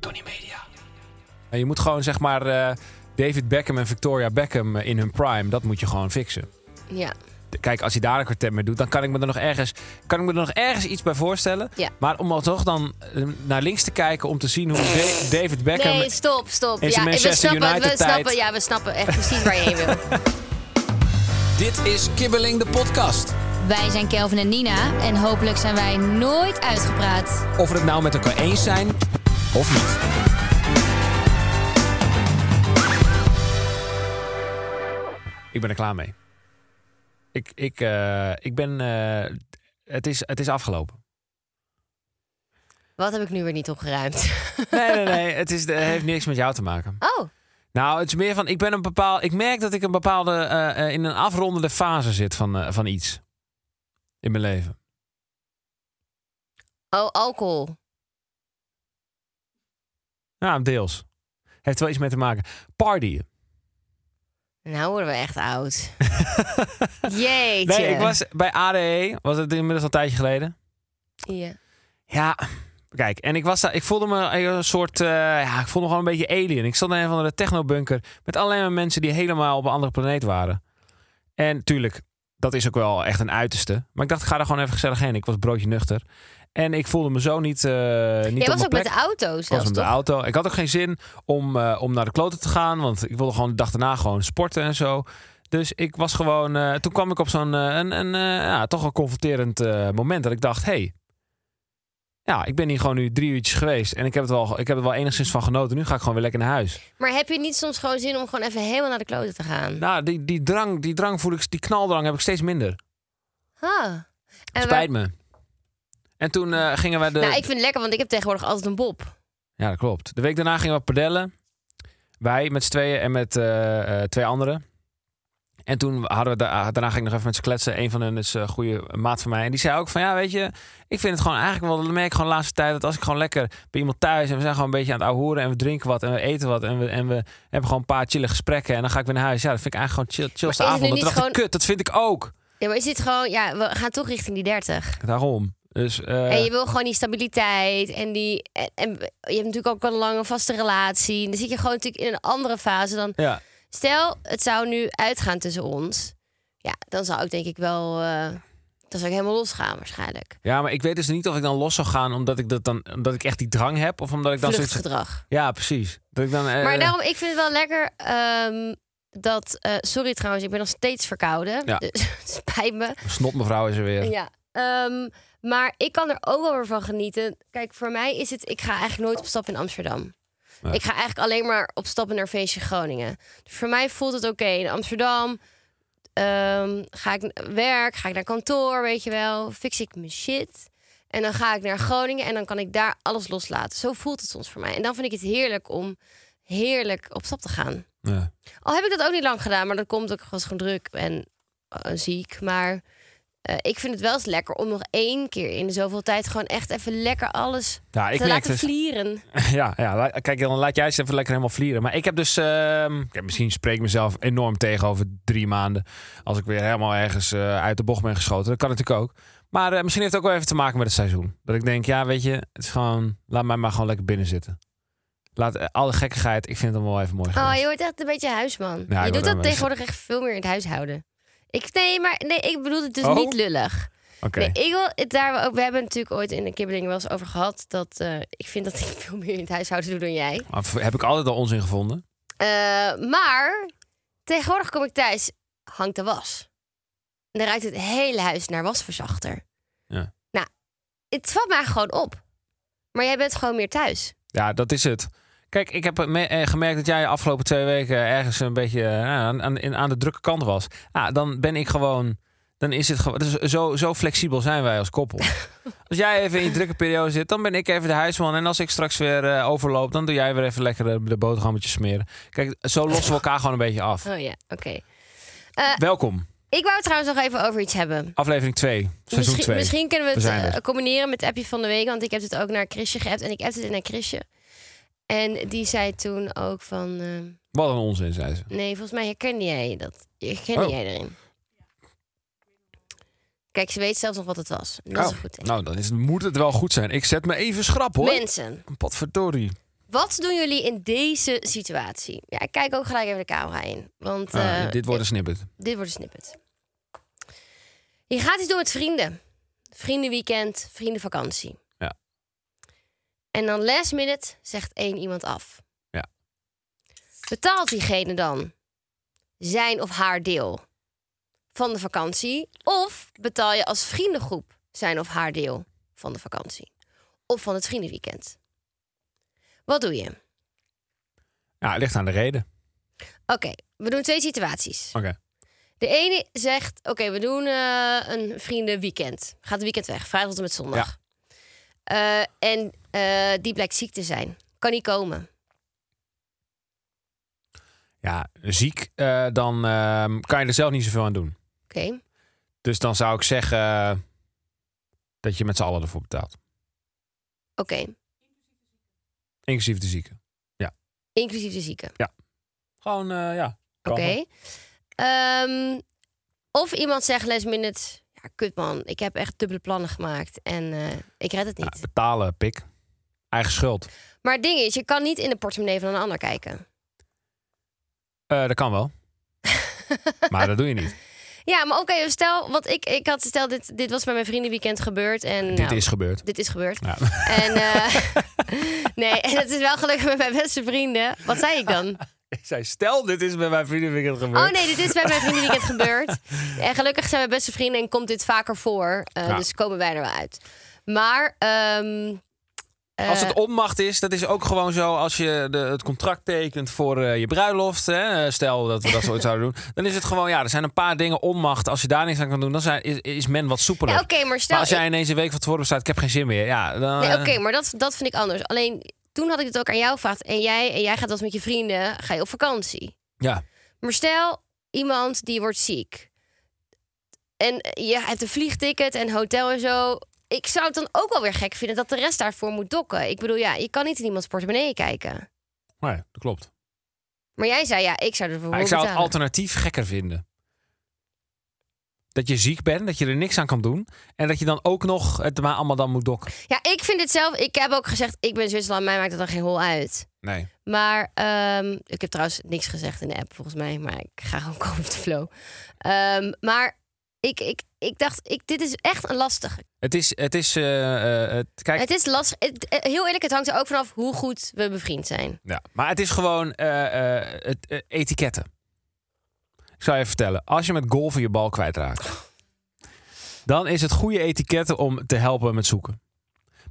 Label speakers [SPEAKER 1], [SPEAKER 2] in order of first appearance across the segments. [SPEAKER 1] Tony Media.
[SPEAKER 2] Nou, Je moet gewoon zeg maar eh, David Beckham en Victoria Beckham eh, in hun prime, dat moet je gewoon fixen.
[SPEAKER 3] Ja.
[SPEAKER 2] Kijk, als hij daar een kwartet mee doet, dan kan ik me er nog ergens, kan ik me er nog ergens iets bij voorstellen.
[SPEAKER 3] Ja.
[SPEAKER 2] Maar om al toch dan eh, naar links te kijken om te zien hoe Da- David Beckham.
[SPEAKER 3] Nee, stop, stop.
[SPEAKER 2] Is
[SPEAKER 3] Ja,
[SPEAKER 2] een
[SPEAKER 3] we
[SPEAKER 2] Manchester
[SPEAKER 3] snappen, we
[SPEAKER 2] United tijd.
[SPEAKER 3] snappen, ja, we snappen echt precies waar je heen wil.
[SPEAKER 4] Dit is Kibbeling de podcast.
[SPEAKER 5] Wij zijn Kelvin en Nina en hopelijk zijn wij nooit uitgepraat.
[SPEAKER 4] Of we het nou met elkaar eens zijn of niet.
[SPEAKER 2] Ik ben er klaar mee. Ik, ik, eh, ik ben. eh, het, is, het is afgelopen.
[SPEAKER 3] Wat heb ik nu weer niet opgeruimd?
[SPEAKER 2] Nee, nee, nee. Het, is, het heeft niks met jou te maken.
[SPEAKER 3] Oh,
[SPEAKER 2] Nou, het is meer van. Ik, ben een bepaal, ik merk dat ik een bepaalde. eh, eh, in een afrondende fase zit van, eh, van iets. In mijn leven.
[SPEAKER 3] oh alcohol.
[SPEAKER 2] Nou, deels. Heeft wel iets mee te maken. Partyen.
[SPEAKER 3] Nou worden we echt oud. Jeetje.
[SPEAKER 2] Nee, ik was bij ADE. Was het inmiddels al een tijdje geleden?
[SPEAKER 3] Ja.
[SPEAKER 2] Ja. Kijk, en ik, was daar, ik voelde me een soort. eh, ja, ik voelde me gewoon een beetje alien. Ik zat in een van de technobunker. Met alleen maar mensen die helemaal op een andere planeet waren. En tuurlijk, dat is ook wel echt een uiterste. Maar ik dacht, ik ga er gewoon even gezellig heen. Ik was broodje nuchter. En ik voelde me zo niet. eh niet
[SPEAKER 3] Jij
[SPEAKER 2] op
[SPEAKER 3] was
[SPEAKER 2] mijn
[SPEAKER 3] ook met
[SPEAKER 2] plek.
[SPEAKER 3] de auto
[SPEAKER 2] Ik was
[SPEAKER 3] zelfs,
[SPEAKER 2] met de
[SPEAKER 3] toch?
[SPEAKER 2] auto. Ik had ook geen zin om, eh, om naar de kloten te gaan. Want ik wilde gewoon de dag daarna gewoon sporten en zo. Dus ik was gewoon. eh, toen kwam ik op zo'n. eh, een, een, eh, ja, toch een confronterend eh, moment. Dat ik dacht: hé. Hey, ja, ik ben hier gewoon nu drie uurtjes geweest. En ik heb, het wel, ik heb er wel enigszins van genoten. Nu ga ik gewoon weer lekker naar huis.
[SPEAKER 3] Maar heb je niet soms gewoon zin om gewoon even helemaal naar de kloten te gaan?
[SPEAKER 2] Nou, die, die drang, die drang voel ik. Die knaldrang heb ik steeds minder.
[SPEAKER 3] Ah. En waar-
[SPEAKER 2] Spijt me. En toen eh, gingen we de.
[SPEAKER 3] Nou, ik vind het lekker, want ik heb tegenwoordig altijd een bob.
[SPEAKER 2] Ja, dat klopt. De week daarna gingen we padellen. Wij met z'n tweeën en met eh, eh, twee anderen. En toen hadden we da- daarna ging ik nog even met ze kletsen. Een van hen is eh, een goede maat van mij. En die zei ook van ja, weet je, ik vind het gewoon eigenlijk wel. Dat merk ik gewoon de laatste tijd dat als ik gewoon lekker bij iemand thuis en we zijn gewoon een beetje aan het ouwehoeren en we drinken wat en we eten wat en we, en we hebben gewoon een paar chille gesprekken en dan ga ik weer naar huis. Ja, dat vind ik eigenlijk gewoon chill, chillste
[SPEAKER 3] Maar is het
[SPEAKER 2] avond.
[SPEAKER 3] nu
[SPEAKER 2] En Toen dacht
[SPEAKER 3] niet
[SPEAKER 2] ik, kut, dat vind ik ook.
[SPEAKER 3] Ja, maar is dit gewoon... Ja, we gaan toch richting die 30.
[SPEAKER 2] Daarom. Dus, eh,
[SPEAKER 3] En je wil gewoon die stabiliteit en die... En, en je hebt natuurlijk ook al een lange vaste relatie. En dan zit je gewoon natuurlijk in een andere fase dan...
[SPEAKER 2] ja.
[SPEAKER 3] Stel, het zou nu uitgaan tussen ons. Ja, dan zou ik denk ik wel... eh, dan zou ik helemaal losgaan waarschijnlijk.
[SPEAKER 2] ja, maar ik weet dus niet of ik dan los zou gaan omdat ik, dat dan, omdat ik echt die drang heb of omdat ik dan zoiets
[SPEAKER 3] Vluchtgedrag.
[SPEAKER 2] Ja, precies. Dat ik dan, eh,
[SPEAKER 3] Maar daarom, ik vind het wel lekker ehm, dat... eh, sorry trouwens, ik ben nog steeds verkouden.
[SPEAKER 2] Ja.
[SPEAKER 3] Dus het spijt me.
[SPEAKER 2] Snot mevrouw is er weer.
[SPEAKER 3] Ja. Ehm, maar ik kan er ook wel weer van genieten. Kijk, voor mij is het... Ik ga eigenlijk nooit op stap in Amsterdam.
[SPEAKER 2] Nee.
[SPEAKER 3] Ik ga eigenlijk alleen maar op stap naar feestje Groningen. Dus voor mij voelt het oké. In Amsterdam ehm, ga ik naar werk, ga ik naar kantoor, weet je wel. Fix ik mijn shit. En dan ga ik naar Groningen en dan kan ik daar alles loslaten. Zo voelt het soms voor mij. En dan vind ik het heerlijk om heerlijk op stap te gaan.
[SPEAKER 2] Ja.
[SPEAKER 3] Al heb ik dat ook niet lang gedaan, maar dat komt ook was gewoon druk en eh, ziek. Maar eh, ik vind het wel eens lekker om nog één keer in de zoveel tijd gewoon echt even lekker alles
[SPEAKER 2] Ja, ik
[SPEAKER 3] te
[SPEAKER 2] merk
[SPEAKER 3] laten
[SPEAKER 2] dus.
[SPEAKER 3] vlieren.
[SPEAKER 2] Ja, ja, la- kijk, dan laat jij ze even lekker helemaal vlieren. Maar ik heb dus. ehm, ik heb, misschien spreek ik mezelf enorm tegen over drie maanden. Als ik weer helemaal ergens eh, uit de bocht ben geschoten. Dat kan natuurlijk ook. Maar eh, misschien heeft het ook wel even te maken met het seizoen. Dat ik denk, ja, weet je, het is gewoon. Laat mij maar gewoon lekker binnen zitten. Laat eh, alle gekkigheid. Ik vind het allemaal wel even mooi.
[SPEAKER 3] Oh,
[SPEAKER 2] geweest.
[SPEAKER 3] je wordt echt een beetje huisman.
[SPEAKER 2] Ja, ik
[SPEAKER 3] je
[SPEAKER 2] word
[SPEAKER 3] doet
[SPEAKER 2] wel een
[SPEAKER 3] dat tegenwoordig echt veel meer in het huishouden. Ik, nee, maar nee, ik bedoel het dus
[SPEAKER 2] Oh?
[SPEAKER 3] niet lullig.
[SPEAKER 2] Oké.
[SPEAKER 3] Nee, ik wil het daar ook. We hebben natuurlijk ooit in de kibbeling wel eens over gehad. Dat eh, ik vind dat ik veel meer in het huishouden doe dan jij.
[SPEAKER 2] Of Heb ik altijd al onzin gevonden?
[SPEAKER 3] Eh, maar tegenwoordig kom ik thuis, hangt de was. En dan ruikt het hele huis naar wasverzachter.
[SPEAKER 2] Ja.
[SPEAKER 3] Nou, het valt mij gewoon op. Maar jij bent gewoon meer thuis.
[SPEAKER 2] Ja, dat is het. Kijk, ik heb me- eh, gemerkt dat jij de afgelopen twee weken ergens een beetje eh, aan, aan, in- aan de drukke kant was. Ah, dan ben ik gewoon. Dan is het gewoon. Dus zo, zo flexibel zijn wij als koppel. Als jij even in je drukke periode zit, dan ben ik even de huisman. En als ik straks weer eh, overloop, dan doe jij weer even lekker de, de boterhammetjes smeren. Kijk, zo lossen we elkaar gewoon een beetje af.
[SPEAKER 3] Oh ja, oké.
[SPEAKER 2] Welkom,
[SPEAKER 3] Eh, Ik wou het trouwens nog even over iets hebben.
[SPEAKER 2] aflevering 2, seizoen
[SPEAKER 3] Misschien,
[SPEAKER 2] 2.
[SPEAKER 3] misschien kunnen we
[SPEAKER 2] We
[SPEAKER 3] het
[SPEAKER 2] zijn
[SPEAKER 3] eh,
[SPEAKER 2] er.
[SPEAKER 3] combineren met het appje van de week. Want ik heb het ook naar Chrisje geappt. En ik appte het naar Chrisje. En die zei toen ook van... ehm,
[SPEAKER 2] Wat een onzin, zei ze.
[SPEAKER 3] Nee, volgens mij herkende jij dat. Herkende
[SPEAKER 2] Oh.
[SPEAKER 3] jij erin? Kijk, ze weet zelfs nog wat het was. Dat is
[SPEAKER 2] Oh,
[SPEAKER 3] een goed teken.
[SPEAKER 2] nou, dan is, moet het wel goed zijn. Ik zet me even schrap hoor.
[SPEAKER 3] Mensen,
[SPEAKER 2] Potverdorie.
[SPEAKER 3] wat doen jullie in deze situatie? Ja, ik kijk ook gelijk even de camera in. Want
[SPEAKER 2] Ah,
[SPEAKER 3] eh,
[SPEAKER 2] dit wordt een snippet.
[SPEAKER 3] dit wordt een snippet. Je gaat iets doen met vrienden. Vriendenweekend, vriendenvakantie.
[SPEAKER 2] Ja.
[SPEAKER 3] En dan last minute zegt één iemand af.
[SPEAKER 2] Ja.
[SPEAKER 3] Betaalt diegene dan zijn of haar deel van de vakantie? Of betaal je als vriendengroep zijn of haar deel van de vakantie? Of van het vriendenweekend? Wat doe je? Oké,
[SPEAKER 2] Ja, het ligt aan de reden.
[SPEAKER 3] we doen twee situaties.
[SPEAKER 2] Oké.
[SPEAKER 3] De ene zegt, oké, we doen eh, een vriendenweekend. Gaat het weekend weg, vrijdag tot en met zondag. Eh, en eh, die blijkt ziek te zijn. Kan niet komen.
[SPEAKER 2] Ja, ziek, eh, dan ehm, kan je er zelf niet zoveel aan doen.
[SPEAKER 3] Oké,
[SPEAKER 2] Dus dan zou ik zeggen eh, dat je met z'n allen ervoor betaalt.
[SPEAKER 3] oké.
[SPEAKER 2] Inclusief de zieken.
[SPEAKER 3] Inclusief de zieke.
[SPEAKER 2] Gewoon, eh, ja.
[SPEAKER 3] Oké.
[SPEAKER 2] kan wel.
[SPEAKER 3] Ehm, of iemand zegt last minute, ja, kut man, ik heb echt dubbele plannen gemaakt en eh, ik red het
[SPEAKER 2] Ja,
[SPEAKER 3] niet.
[SPEAKER 2] betalen, pik. Eigen schuld.
[SPEAKER 3] Maar het ding is, je kan niet in de portemonnee van een ander kijken.
[SPEAKER 2] Eh, dat kan wel. maar dat doe je niet.
[SPEAKER 3] Ja, maar oké, stel, want ik, ik had, stel, dit, dit was bij mijn vriendenweekend gebeurd en...
[SPEAKER 2] Dit
[SPEAKER 3] nou,
[SPEAKER 2] is gebeurd.
[SPEAKER 3] Dit is gebeurd.
[SPEAKER 2] Ja.
[SPEAKER 3] En, eh, nee, en het is wel gelukkig met mijn beste vrienden. Wat zei ik dan?
[SPEAKER 2] Ik zei, stel dit is bij mijn vriendenweekend gebeurd.
[SPEAKER 3] Oh nee, dit is bij mijn vriendenweekend gebeurd. En gelukkig zijn mijn beste vrienden en komt dit vaker voor. Eh,
[SPEAKER 2] Ja.
[SPEAKER 3] Dus komen wij er wel uit. Maar ehm, eh,
[SPEAKER 2] Als het onmacht is, dat is ook gewoon zo. Als je de, het contract tekent voor eh, je bruiloft, hè, eh, stel dat we dat ooit zouden doen, dan is het gewoon, ja, er zijn een paar dingen onmacht. Als je daar niks aan kan doen, dan zijn, is, is men wat soepeler.
[SPEAKER 3] ja, oké, maar stel...
[SPEAKER 2] maar als jij ineens een week van tevoren bestaat, ik heb geen zin meer. Ja, dan,
[SPEAKER 3] Nee,
[SPEAKER 2] eh,
[SPEAKER 3] oké, maar dat, dat vind ik anders. Alleen toen had ik het ook aan jou gevraagd. En jij, en jij gaat als met je vrienden, ga je op vakantie.
[SPEAKER 2] ja.
[SPEAKER 3] Maar stel, iemand die wordt ziek. En je hebt een vliegticket en hotel en zo. Ik zou het dan ook wel weer gek vinden dat de rest daarvoor moet dokken. Ik bedoel, ja, je kan niet in iemands portemonnee kijken.
[SPEAKER 2] Nee, dat klopt.
[SPEAKER 3] Maar jij zei, ja, ik zou ervoor
[SPEAKER 2] Maar
[SPEAKER 3] moeten
[SPEAKER 2] ik zou het
[SPEAKER 3] betalen.
[SPEAKER 2] alternatief gekker vinden. Dat je ziek bent, dat je er niks aan kan doen. En dat je dan ook nog het maar allemaal dan moet dokken.
[SPEAKER 3] Ja, ik vind het zelf... Ik heb ook gezegd, ik ben Zwitserland, mij maakt het dan geen hol uit.
[SPEAKER 2] Nee.
[SPEAKER 3] Maar ehm, ik heb trouwens niks gezegd in de app, volgens mij. Maar ik ga gewoon komen op de flow. Ehm, maar ik, ik, ik dacht, ik, dit is echt een lastige.
[SPEAKER 2] Het is, het is, eh, eh, het, kijk,
[SPEAKER 3] Het is lastig. Het- eh, heel eerlijk, het hangt er ook vanaf hoe goed we bevriend zijn.
[SPEAKER 2] Ja, maar het is gewoon eh, eh, het, eh, etiketten. Ik zal je even vertellen. Als je met golven je bal kwijtraakt, dan is het goede etiketten om te helpen met zoeken.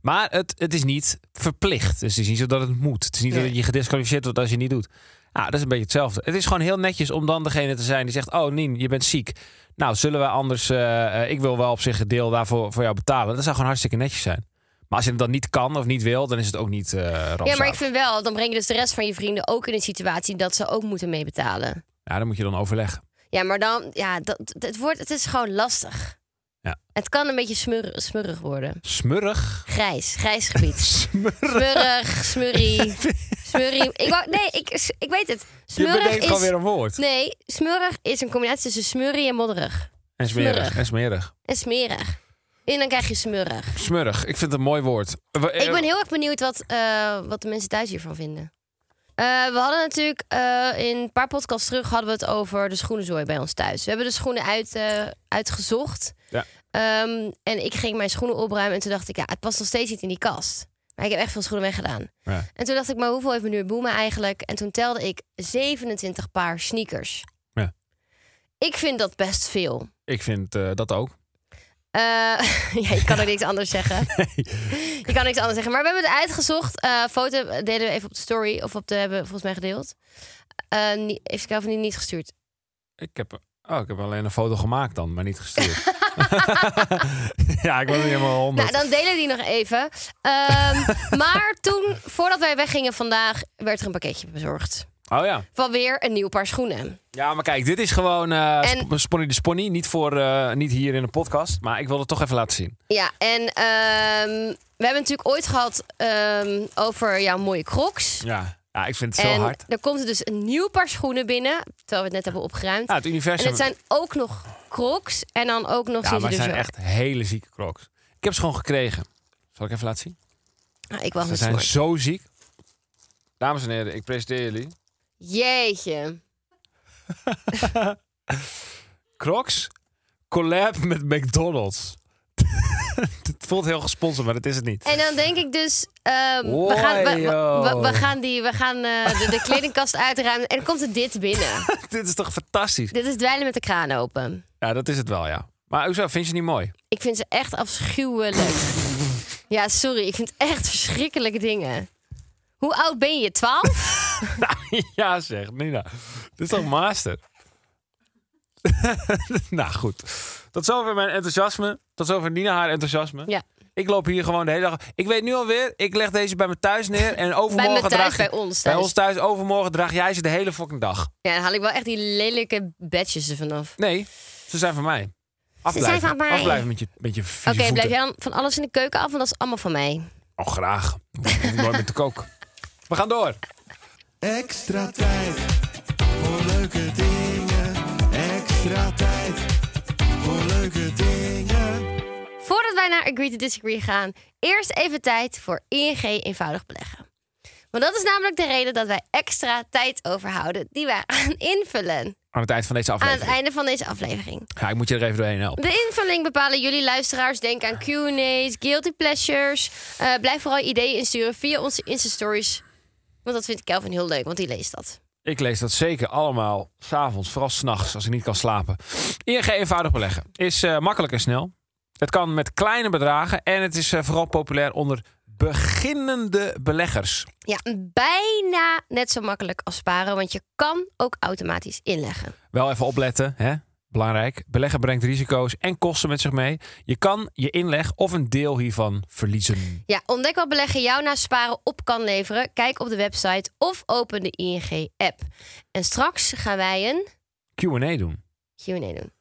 [SPEAKER 2] Maar het, het is niet verplicht. Dus het is niet zo dat het moet. Het is niet
[SPEAKER 3] Nee.
[SPEAKER 2] dat je gedisqualificeerd wordt als je het niet doet. Ja, dat is een beetje hetzelfde. Het is gewoon heel netjes om dan degene te zijn die zegt... Oh, Nien, je bent ziek. Nou, zullen we anders... eh, eh, ik wil wel op zich een deel daarvoor voor jou betalen. Dat zou gewoon hartstikke netjes zijn. Maar als je het dan niet kan of niet wil, dan is het ook niet eh rampzalig.
[SPEAKER 3] Ja, maar ik vind wel, dan breng je dus de rest van je vrienden ook in een situatie dat ze ook moeten meebetalen.
[SPEAKER 2] Ja, dan moet je dan overleggen.
[SPEAKER 3] Ja, maar dan, ja, dat, het, wordt, het is gewoon lastig.
[SPEAKER 2] Ja.
[SPEAKER 3] Het kan een beetje smur, smurrig worden.
[SPEAKER 2] Smurrig.
[SPEAKER 3] Grijs, grijs gebied. smurrig, smurrie, smurrie. Ik wou, nee, ik, ik weet het.
[SPEAKER 2] je
[SPEAKER 3] Smurrig
[SPEAKER 2] bedenkt gewoon
[SPEAKER 3] is...
[SPEAKER 2] weer een woord.
[SPEAKER 3] Nee, smurrig is een combinatie tussen smurrie en modderig.
[SPEAKER 2] en smerig.
[SPEAKER 3] smurrig.
[SPEAKER 2] En smerig.
[SPEAKER 3] En smerig. En dan krijg je smurrig.
[SPEAKER 2] Smurrig. Ik vind het een mooi woord. Eh, We-
[SPEAKER 3] Ik ben heel erg benieuwd wat, eh, wat de mensen thuis hiervan vinden. Eh, we hadden natuurlijk eh, in een paar podcasts terug hadden we het over de schoenenzooi bij ons thuis. We hebben de schoenen uit, eh, uitgezocht.
[SPEAKER 2] Ja.
[SPEAKER 3] Ehm, en ik ging mijn schoenen opruimen en toen dacht ik, ja, het past nog steeds niet in die kast. Maar ik heb echt veel schoenen weggedaan.
[SPEAKER 2] Ja.
[SPEAKER 3] En toen dacht ik, maar hoeveel heeft meneer Boemen eigenlijk? En toen telde ik 27 paar sneakers.
[SPEAKER 2] Ja.
[SPEAKER 3] Ik vind dat best veel.
[SPEAKER 2] Ik vind eh, dat ook.
[SPEAKER 3] Eh, ja, ik kan ook niks anders zeggen. Je kan niks anders zeggen. Maar we hebben het uitgezocht. Eh, foto deden we even op de story. Of op de hebben we volgens mij gedeeld. Eh, niet- heeft Kelvin die niet gestuurd?
[SPEAKER 2] Ik heb Oh, ik heb alleen een foto gemaakt dan, maar niet gestuurd. ja, ik was niet helemaal honderd.
[SPEAKER 3] Nou, dan delen die nog even. Ehm, maar toen, voordat wij weggingen vandaag, werd er een pakketje bezorgd.
[SPEAKER 2] Oh ja.
[SPEAKER 3] Van weer een nieuw paar schoenen.
[SPEAKER 2] Ja, maar kijk, dit is gewoon eh
[SPEAKER 3] En-
[SPEAKER 2] sp- Sponny de Sponny. Niet, voor, eh, niet hier in de podcast, maar ik wil het toch even laten zien.
[SPEAKER 3] Ja, en ehm, we hebben natuurlijk ooit gehad ehm, over jouw mooie crocs.
[SPEAKER 2] Ja, ja ik vind het zo
[SPEAKER 3] En
[SPEAKER 2] hard.
[SPEAKER 3] er komt er dus een nieuw paar schoenen binnen, terwijl we het net hebben opgeruimd.
[SPEAKER 2] Ja, het
[SPEAKER 3] en
[SPEAKER 2] universum.
[SPEAKER 3] het zijn ook nog crocs en dan ook nog...
[SPEAKER 2] ja, maar
[SPEAKER 3] zie je
[SPEAKER 2] het
[SPEAKER 3] dus
[SPEAKER 2] zijn
[SPEAKER 3] ook-
[SPEAKER 2] echt hele zieke crocs. Ik heb ze gewoon gekregen. Zal ik even laten zien?
[SPEAKER 3] Ah, ik wacht
[SPEAKER 2] Ze
[SPEAKER 3] met
[SPEAKER 2] zijn
[SPEAKER 3] woord.
[SPEAKER 2] zo ziek. Dames en heren, ik presenteer jullie.
[SPEAKER 3] Jeetje.
[SPEAKER 2] Crocs collab met McDonald's. Het voelt heel gesponsord, maar dat is het niet.
[SPEAKER 3] En dan denk ik dus, ehm, we, gaan, we, we- we- we gaan, die, we gaan eh, de, de kledingkast uitruimen en dan komt er dit binnen.
[SPEAKER 2] Dit is toch fantastisch?
[SPEAKER 3] dit is dweilen met de kraan open.
[SPEAKER 2] Ja, dat is het wel, ja. Maar hoezo, vind je het niet mooi?
[SPEAKER 3] Ik vind ze echt afschuwelijk. ja, sorry, ik vind echt verschrikkelijke dingen. Hoe oud ben je? 12?
[SPEAKER 2] ja, zeg, Nina. Dit is toch master? nou, goed. Tot zover mijn enthousiasme. Tot zover Nina haar enthousiasme.
[SPEAKER 3] Ja.
[SPEAKER 2] Ik loop hier gewoon de hele dag. Ik weet nu alweer, ik leg deze bij me thuis neer. En
[SPEAKER 3] Bij
[SPEAKER 2] overmorgen
[SPEAKER 3] me thuis,
[SPEAKER 2] draag
[SPEAKER 3] bij ons
[SPEAKER 2] Bij
[SPEAKER 3] thuis.
[SPEAKER 2] ons thuis, overmorgen draag jij ze de hele fucking dag.
[SPEAKER 3] Ja, dan haal ik wel echt die lelijke bedjes er vanaf.
[SPEAKER 2] Nee, ze zijn van mij. Afblijven.
[SPEAKER 3] zijn van mij.
[SPEAKER 2] Afblijven met je, met je vieze
[SPEAKER 3] Oké, blijf
[SPEAKER 2] voeten.
[SPEAKER 3] jij dan van alles in de keuken af? Want dat is allemaal van mij.
[SPEAKER 2] Oh, graag. Hoef ik nooit meer te koken. We gaan door.
[SPEAKER 6] Extra tijd voor leuke dingen. Extra tijd voor leuke dingen.
[SPEAKER 3] Voordat wij naar Agree to Disagree gaan, eerst even tijd voor ING eenvoudig beleggen. Want dat is namelijk de reden dat wij extra tijd overhouden die wij gaan invullen
[SPEAKER 2] Aan het eind van deze
[SPEAKER 3] aan het
[SPEAKER 2] aflevering.
[SPEAKER 3] einde van deze aflevering.
[SPEAKER 2] Ja, ik moet je er even doorheen helpen.
[SPEAKER 3] De invulling bepalen jullie luisteraars. Denk aan Q&A's, guilty pleasures. Eh, blijf vooral ideeën insturen via onze Insta-stories. Want dat vindt Kelvin heel leuk, want die leest dat.
[SPEAKER 2] Ik lees dat zeker allemaal s'avonds, vooral s'nachts, als ik niet kan slapen. ING eenvoudig beleggen is eh, makkelijk en snel. Het kan met kleine bedragen en het is eh, vooral populair onder beginnende beleggers.
[SPEAKER 3] Ja, bijna net zo makkelijk als sparen, want je kan ook automatisch inleggen.
[SPEAKER 2] Wel even opletten, hè? Belangrijk. Beleggen brengt risico's en kosten met zich mee. Je kan je inleg of een deel hiervan verliezen.
[SPEAKER 3] Ja, ontdek wat beleggen jou na sparen op kan leveren. Kijk op de website of open de ING-app. En straks gaan wij een
[SPEAKER 2] Q&A doen.
[SPEAKER 3] Q&A doen.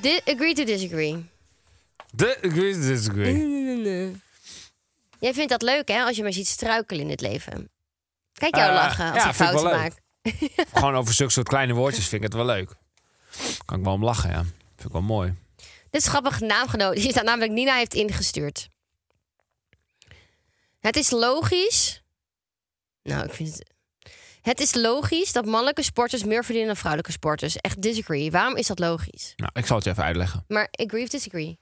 [SPEAKER 3] Di- agree to disagree.
[SPEAKER 2] De agree to disagree.
[SPEAKER 3] Jij vindt dat leuk, hè? Als je maar ziet struikelen in het leven. Kijk jou
[SPEAKER 2] Eh,
[SPEAKER 3] lachen als
[SPEAKER 2] ja,
[SPEAKER 3] ik
[SPEAKER 2] vind ik
[SPEAKER 3] fouten
[SPEAKER 2] wel leuk.
[SPEAKER 3] maak.
[SPEAKER 2] Gewoon over zulke soort kleine woordjes vind ik het wel leuk. Kan ik wel om lachen, ja. Vind ik wel mooi.
[SPEAKER 3] Dit is grappig naamgenoot. Die staat namelijk Nina heeft ingestuurd. Het is logisch. Nou, ik vind het. Het is logisch dat mannelijke sporters meer verdienen dan vrouwelijke sporters. Echt disagree. Waarom is dat logisch?
[SPEAKER 2] Nou, ik zal het je even uitleggen.
[SPEAKER 3] Maar agree of disagree?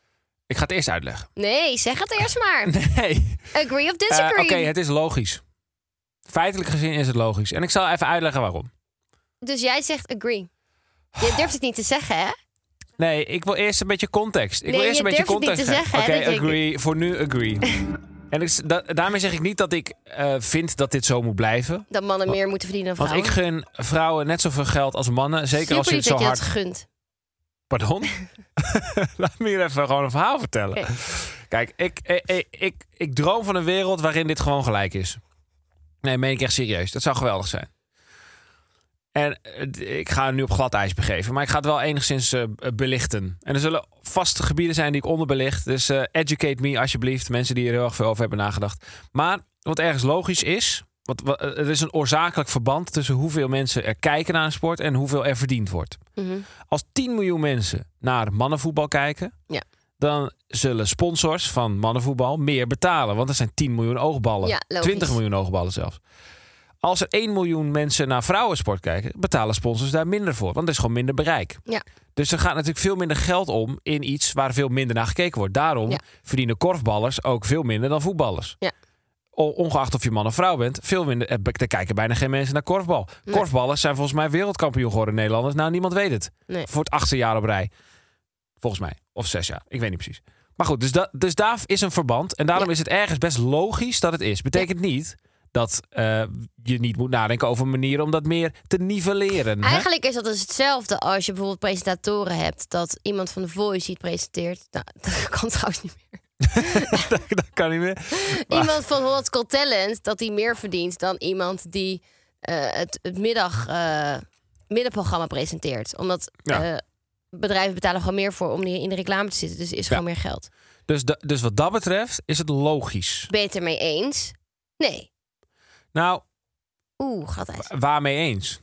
[SPEAKER 2] Ik ga het eerst uitleggen.
[SPEAKER 3] Nee, zeg het eerst maar.
[SPEAKER 2] Nee.
[SPEAKER 3] Agree of
[SPEAKER 2] Eh,
[SPEAKER 3] disagree?
[SPEAKER 2] Oké, het is logisch. Feitelijk gezien is het logisch. En ik zal even uitleggen waarom.
[SPEAKER 3] Dus jij zegt agree. Je durft het niet te zeggen, hè?
[SPEAKER 2] Nee, ik wil eerst een beetje context. Ik
[SPEAKER 3] Nee,
[SPEAKER 2] wil eerst
[SPEAKER 3] je
[SPEAKER 2] een beetje
[SPEAKER 3] durft het niet
[SPEAKER 2] context.
[SPEAKER 3] te
[SPEAKER 2] geven.
[SPEAKER 3] zeggen, hè,
[SPEAKER 2] Oké,
[SPEAKER 3] dat je-
[SPEAKER 2] agree. Voor nu agree. en ik s- da- daarmee zeg ik niet dat ik eh, vind dat dit zo moet blijven.
[SPEAKER 3] Dat mannen meer moeten verdienen dan
[SPEAKER 2] Want
[SPEAKER 3] vrouwen.
[SPEAKER 2] ik gun vrouwen net zoveel geld als mannen. Zeker als je het
[SPEAKER 3] lief
[SPEAKER 2] zo
[SPEAKER 3] dat je
[SPEAKER 2] hard
[SPEAKER 3] dat gunt.
[SPEAKER 2] Pardon? Laat me hier even gewoon een verhaal vertellen.
[SPEAKER 3] Oké.
[SPEAKER 2] Kijk, ik, ik, ik, ik, ik droom van een wereld waarin dit gewoon gelijk is. Nee, meen ik echt serieus. Dat zou geweldig zijn. En eh, d- ik ga nu op glad ijs begeven, maar ik ga het wel enigszins eh, b- belichten. En er zullen vaste gebieden zijn die ik onderbelicht. Dus eh, educate me alsjeblieft, mensen die er heel erg veel over hebben nagedacht. Maar wat ergens logisch is, wat, wat- eh, er is een oorzakelijk verband tussen hoeveel mensen er kijken naar een sport en hoeveel er verdiend wordt.
[SPEAKER 3] Mhm.
[SPEAKER 2] Als 10 miljoen mensen naar mannenvoetbal kijken,
[SPEAKER 3] Ja.
[SPEAKER 2] dan zullen sponsors van mannenvoetbal meer betalen. Want er zijn 10 miljoen oogballen.
[SPEAKER 3] Ja, logisch.
[SPEAKER 2] 20 miljoen oogballen zelfs. Als er 1 miljoen mensen naar vrouwensport kijken, betalen sponsors daar minder voor. Want er is gewoon minder bereik.
[SPEAKER 3] Ja.
[SPEAKER 2] Dus er gaat natuurlijk veel minder geld om in iets waar veel minder naar gekeken wordt. Daarom
[SPEAKER 3] Ja.
[SPEAKER 2] verdienen korfballers ook veel minder dan voetballers.
[SPEAKER 3] Ja.
[SPEAKER 2] O- Ongeacht of je man of vrouw bent, veel minder, eh, er kijken bijna geen mensen naar korfbal.
[SPEAKER 3] Nee.
[SPEAKER 2] Korfballers zijn volgens mij wereldkampioen geworden in Nederlanders. Nou, niemand weet het.
[SPEAKER 3] Nee.
[SPEAKER 2] Voor het achtste jaar op rij. Volgens mij. Of zes jaar. Ik weet niet precies. Maar goed, dus, da- dus daar is een verband. En daarom
[SPEAKER 3] Ja.
[SPEAKER 2] is het ergens best logisch dat het is. Betekent niet dat eh, je niet moet nadenken over manieren om dat meer te nivelleren. hè?
[SPEAKER 3] Eigenlijk is dat dus hetzelfde als je bijvoorbeeld presentatoren hebt. Dat iemand van The Voice iets presenteert. Nou, dat kan trouwens niet meer.
[SPEAKER 2] dat, dat kan niet meer. Maar-
[SPEAKER 3] Iemand van Holland's Got Talent, dat die meer verdient dan iemand die eh, het, het middag, eh, middenprogramma presenteert. Omdat
[SPEAKER 2] Ja.
[SPEAKER 3] eh, bedrijven betalen gewoon meer voor om die in de reclame te zitten. Dus er is gewoon meer geld.
[SPEAKER 2] Dus, da- dus wat dat betreft is het logisch.
[SPEAKER 3] Ben je het ermee eens? Nee.
[SPEAKER 2] Nou,
[SPEAKER 3] Oeh, gaat hij.
[SPEAKER 2] waarmee eens?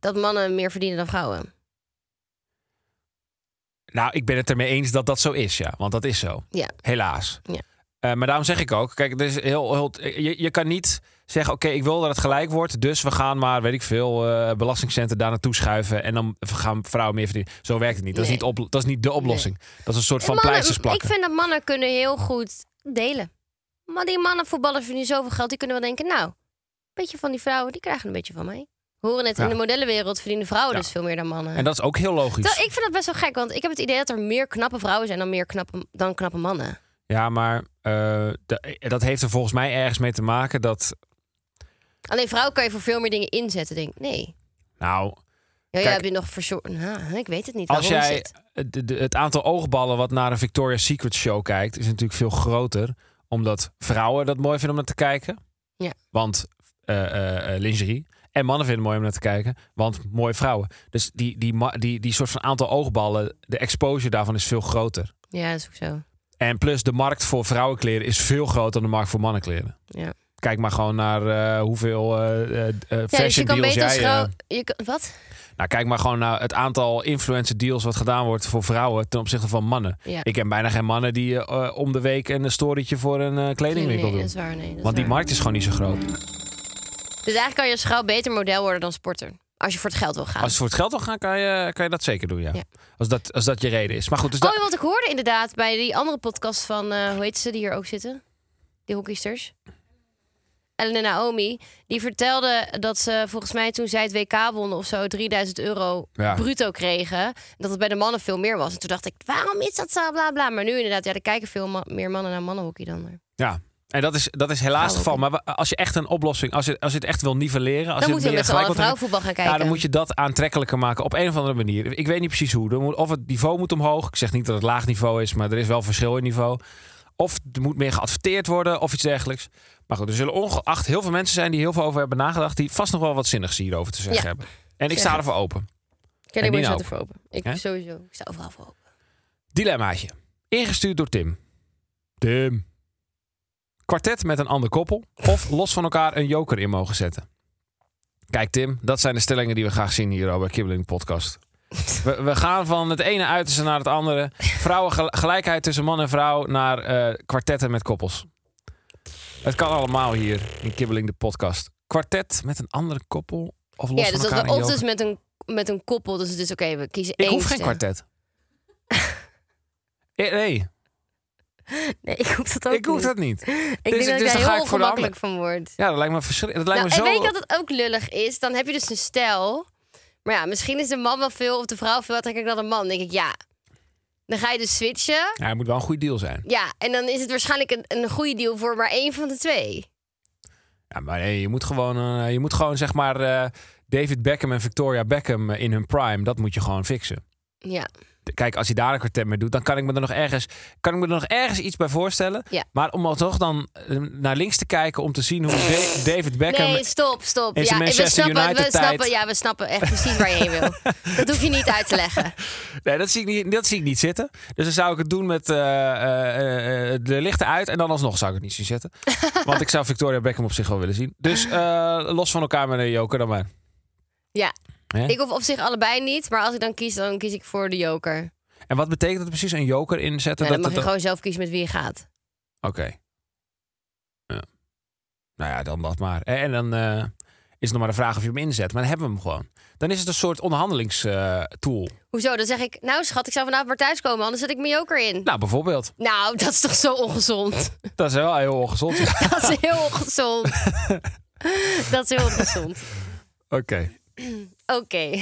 [SPEAKER 3] Dat mannen meer verdienen dan vrouwen.
[SPEAKER 2] Nou, ik ben het ermee eens dat dat zo is, ja. Want dat is zo.
[SPEAKER 3] Ja.
[SPEAKER 2] Helaas.
[SPEAKER 3] Ja.
[SPEAKER 2] Eh, maar daarom zeg ik ook, kijk, het is heel, heel, je, je kan niet zeggen, oké, ik wil dat het gelijk wordt, dus we gaan maar, weet ik veel, eh belastingcenten daar naartoe schuiven en dan gaan vrouwen meer verdienen. Zo werkt het niet. Dat, is,
[SPEAKER 3] Nee.
[SPEAKER 2] niet op, dat is niet de oplossing. Dat is een soort van
[SPEAKER 3] En mannen-
[SPEAKER 2] pleisters plakken.
[SPEAKER 3] Ik vind dat mannen kunnen heel goed delen. Maar die mannen voetballers verdienen zoveel geld. Die kunnen wel denken, nou, een beetje van die vrouwen, die krijgen een beetje van mij. We Horen het,
[SPEAKER 2] Ja.
[SPEAKER 3] in de modellenwereld verdienen vrouwen
[SPEAKER 2] Ja.
[SPEAKER 3] dus veel meer dan mannen.
[SPEAKER 2] En dat is ook heel logisch.
[SPEAKER 3] Terwijl ik vind dat best wel gek, want ik heb het idee dat er meer knappe vrouwen zijn dan meer knappe, dan knappe mannen.
[SPEAKER 2] Ja, maar eh, da- dat heeft er volgens mij ergens mee te maken dat,
[SPEAKER 3] Alleen vrouwen kan je voor veel meer dingen inzetten. Denk ik, nee.
[SPEAKER 2] nou,
[SPEAKER 3] Ja,
[SPEAKER 2] Kijk,
[SPEAKER 3] ja, heb je nog verzorgd? Nou, ik weet het niet.
[SPEAKER 2] Als
[SPEAKER 3] waarom
[SPEAKER 2] jij
[SPEAKER 3] is het?
[SPEAKER 2] de- de- het aantal oogballen wat naar een Victoria's Secret show kijkt, is natuurlijk veel groter. Omdat vrouwen dat mooi vinden om naar te kijken.
[SPEAKER 3] Ja.
[SPEAKER 2] Want eh, eh, eh, lingerie. En mannen vinden het mooi om naar te kijken. Want mooie vrouwen. Dus die, die, ma- die, die soort van aantal oogballen, de exposure daarvan is veel groter.
[SPEAKER 3] Ja, dat is ook zo.
[SPEAKER 2] En plus de markt voor vrouwenkleren is veel groter dan de markt voor mannenkleren.
[SPEAKER 3] Ja.
[SPEAKER 2] Kijk maar gewoon naar eh, hoeveel eh, eh, eh,
[SPEAKER 3] Ja,
[SPEAKER 2] fashion
[SPEAKER 3] dus je kan
[SPEAKER 2] deals
[SPEAKER 3] beter als
[SPEAKER 2] jij... eh,
[SPEAKER 3] vrouw... je kan- wat?
[SPEAKER 2] nou, kijk maar gewoon naar het aantal influencer deals wat gedaan wordt voor vrouwen ten opzichte van mannen.
[SPEAKER 3] Ja.
[SPEAKER 2] Ik ken bijna geen mannen die eh, eh, om de week een storytje voor een eh,
[SPEAKER 3] nee,
[SPEAKER 2] kledingwinkel
[SPEAKER 3] dat
[SPEAKER 2] doen.
[SPEAKER 3] is waar. Nee, dat is
[SPEAKER 2] Want die
[SPEAKER 3] waar. Ah.
[SPEAKER 2] markt is gewoon niet zo groot.
[SPEAKER 3] Dus eigenlijk kan je als vrouw beter model worden dan sporter. Als je voor het geld wil gaan.
[SPEAKER 2] Als het voor het geld wil gaan, kan je, kan je dat zeker doen, ja.
[SPEAKER 3] Ja.
[SPEAKER 2] Als, dat, als dat je reden is. Maar goed, dus
[SPEAKER 3] Oh,
[SPEAKER 2] dat-
[SPEAKER 3] ja, want ik hoorde inderdaad bij die andere podcast van, eh, hoe heet ze, die hier ook zitten? Die hockeysters. Ellen en Naomi. Die vertelde dat ze volgens mij toen zij het WK wonnen of zo 3000 euro
[SPEAKER 2] Ja.
[SPEAKER 3] bruto kregen. En Dat het bij de mannen veel meer was. En toen dacht ik, waarom is dat zo, bla bla. Maar nu inderdaad, ja, er kijken veel ma- meer mannen naar mannenhockey dan er.
[SPEAKER 2] ja. En dat is, dat is helaas het geval. Maar wa- als je echt een oplossing, als je, als je het echt wil nivelleren... Als
[SPEAKER 3] Dan
[SPEAKER 2] je
[SPEAKER 3] moeten we
[SPEAKER 2] meer
[SPEAKER 3] met z'n allen
[SPEAKER 2] gelijk wilt-
[SPEAKER 3] vrouwenvoetbal gaan kijken.
[SPEAKER 2] Ja, dan moet je dat aantrekkelijker maken op een of andere manier. Ik weet niet precies hoe. Er moet, of het niveau moet omhoog. Ik zeg niet dat het laag niveau is, maar er is wel verschil in niveau. Of er moet meer geadverteerd worden of iets dergelijks. Maar goed, er zullen ongeacht heel veel mensen zijn die heel veel over hebben nagedacht. Die vast nog wel wat zinnigs hierover te zeggen
[SPEAKER 3] Ja.
[SPEAKER 2] hebben. En ik
[SPEAKER 3] Zeg
[SPEAKER 2] sta
[SPEAKER 3] het.
[SPEAKER 2] ervoor open.
[SPEAKER 3] Ken
[SPEAKER 2] En
[SPEAKER 3] ik maar
[SPEAKER 2] Nina
[SPEAKER 3] zat
[SPEAKER 2] ook.
[SPEAKER 3] ervoor open. Ik
[SPEAKER 2] Hè?
[SPEAKER 3] sowieso. Ik sta overal voor open.
[SPEAKER 2] Dilemmaatje. Ingestuurd door Tim. Tim. Kwartet met een ander koppel. Of los van elkaar een joker in mogen zetten. Kijk Tim, dat zijn de stellingen die we graag zien hier al bij Kibbeling Podcast. We, we gaan van het ene uiterste naar het andere. Vrouwen, gel- gelijkheid tussen man en vrouw naar eh, kwartetten met koppels. Het kan allemaal hier in Kibbeling de Podcast. Kwartet met een andere koppel of los
[SPEAKER 3] Ja, dus
[SPEAKER 2] van
[SPEAKER 3] dat
[SPEAKER 2] elkaar
[SPEAKER 3] we
[SPEAKER 2] een
[SPEAKER 3] of
[SPEAKER 2] joker.
[SPEAKER 3] dus met een, met een koppel. Dus het is oké, we kiezen
[SPEAKER 2] Ik
[SPEAKER 3] één
[SPEAKER 2] hoef geen
[SPEAKER 3] stem.
[SPEAKER 2] kwartet. Eh, Nee,
[SPEAKER 3] Nee, ik hoef dat ook
[SPEAKER 2] ik hoef
[SPEAKER 3] niet.
[SPEAKER 2] dat niet.
[SPEAKER 3] Ik
[SPEAKER 2] Dus-
[SPEAKER 3] denk dat
[SPEAKER 2] dus
[SPEAKER 3] ik
[SPEAKER 2] dan
[SPEAKER 3] daar
[SPEAKER 2] ga
[SPEAKER 3] heel
[SPEAKER 2] ik voor de
[SPEAKER 3] ongemakkelijk van word.
[SPEAKER 2] Ja, dat lijkt me verschrikkelijk. Dat
[SPEAKER 3] Nou,
[SPEAKER 2] lijkt
[SPEAKER 3] en
[SPEAKER 2] me
[SPEAKER 3] weet
[SPEAKER 2] zo.
[SPEAKER 3] je dat het ook lullig is? Dan heb je dus een stijl. Maar ja, misschien is de man wel veel of de vrouw veel aantrekkelijker dan de man. Dan denk ik, ja. Dan ga je dus switchen.
[SPEAKER 2] Ja, het moet wel een goede deal zijn.
[SPEAKER 3] Ja, en dan is het waarschijnlijk een, een goede deal voor maar één van de twee.
[SPEAKER 2] Ja, maar nee, je moet gewoon, eh, je moet gewoon zeg maar eh, David Beckham en Victoria Beckham eh, in hun prime. Dat moet je gewoon fixen.
[SPEAKER 3] Ja,
[SPEAKER 2] Kijk, als je daar een kwartet mee doet, dan kan ik me er nog ergens, kan ik me er nog ergens iets bij voorstellen.
[SPEAKER 3] Ja.
[SPEAKER 2] Maar om al toch dan eh, naar links te kijken om te zien hoe Da- David Beckham.
[SPEAKER 3] nee, stop, stop.
[SPEAKER 2] is
[SPEAKER 3] Ja,
[SPEAKER 2] een Manchester
[SPEAKER 3] we snappen, we
[SPEAKER 2] United
[SPEAKER 3] snappen,
[SPEAKER 2] tijd.
[SPEAKER 3] ja, we snappen echt precies waar je heen wil. Dat hoef je niet uit te leggen.
[SPEAKER 2] Nee, dat zie, ik niet, dat zie ik niet zitten. Dus dan zou ik het doen met eh, eh, eh, de lichten uit. En dan alsnog zou ik het niet zien zitten. Want ik zou Victoria Beckham op zich wel willen zien. Dus eh, los van elkaar met een joker dan maar.
[SPEAKER 3] Ja,
[SPEAKER 2] Hè?
[SPEAKER 3] ik hoef op zich allebei niet. Maar als ik dan kies, dan kies ik voor de joker.
[SPEAKER 2] En wat betekent dat precies? Een joker inzetten?
[SPEAKER 3] Ja, dan mag je
[SPEAKER 2] het-
[SPEAKER 3] gewoon zelf kiezen met wie je gaat.
[SPEAKER 2] Oké. Ja. Nou ja, dan dat maar. En dan eh, is het nog maar de vraag of je hem inzet. Maar dan hebben we hem gewoon. Dan is het een soort onderhandelingstool.
[SPEAKER 3] Hoezo? Dan zeg ik, nou schat, ik zou vanavond maar thuiskomen, anders zet ik mijn joker in.
[SPEAKER 2] nou, bijvoorbeeld.
[SPEAKER 3] Nou, dat is toch zo ongezond?
[SPEAKER 2] Dat is wel heel ongezond. Oké.
[SPEAKER 3] Dat is heel ongezond. dat is heel ongezond. Oké.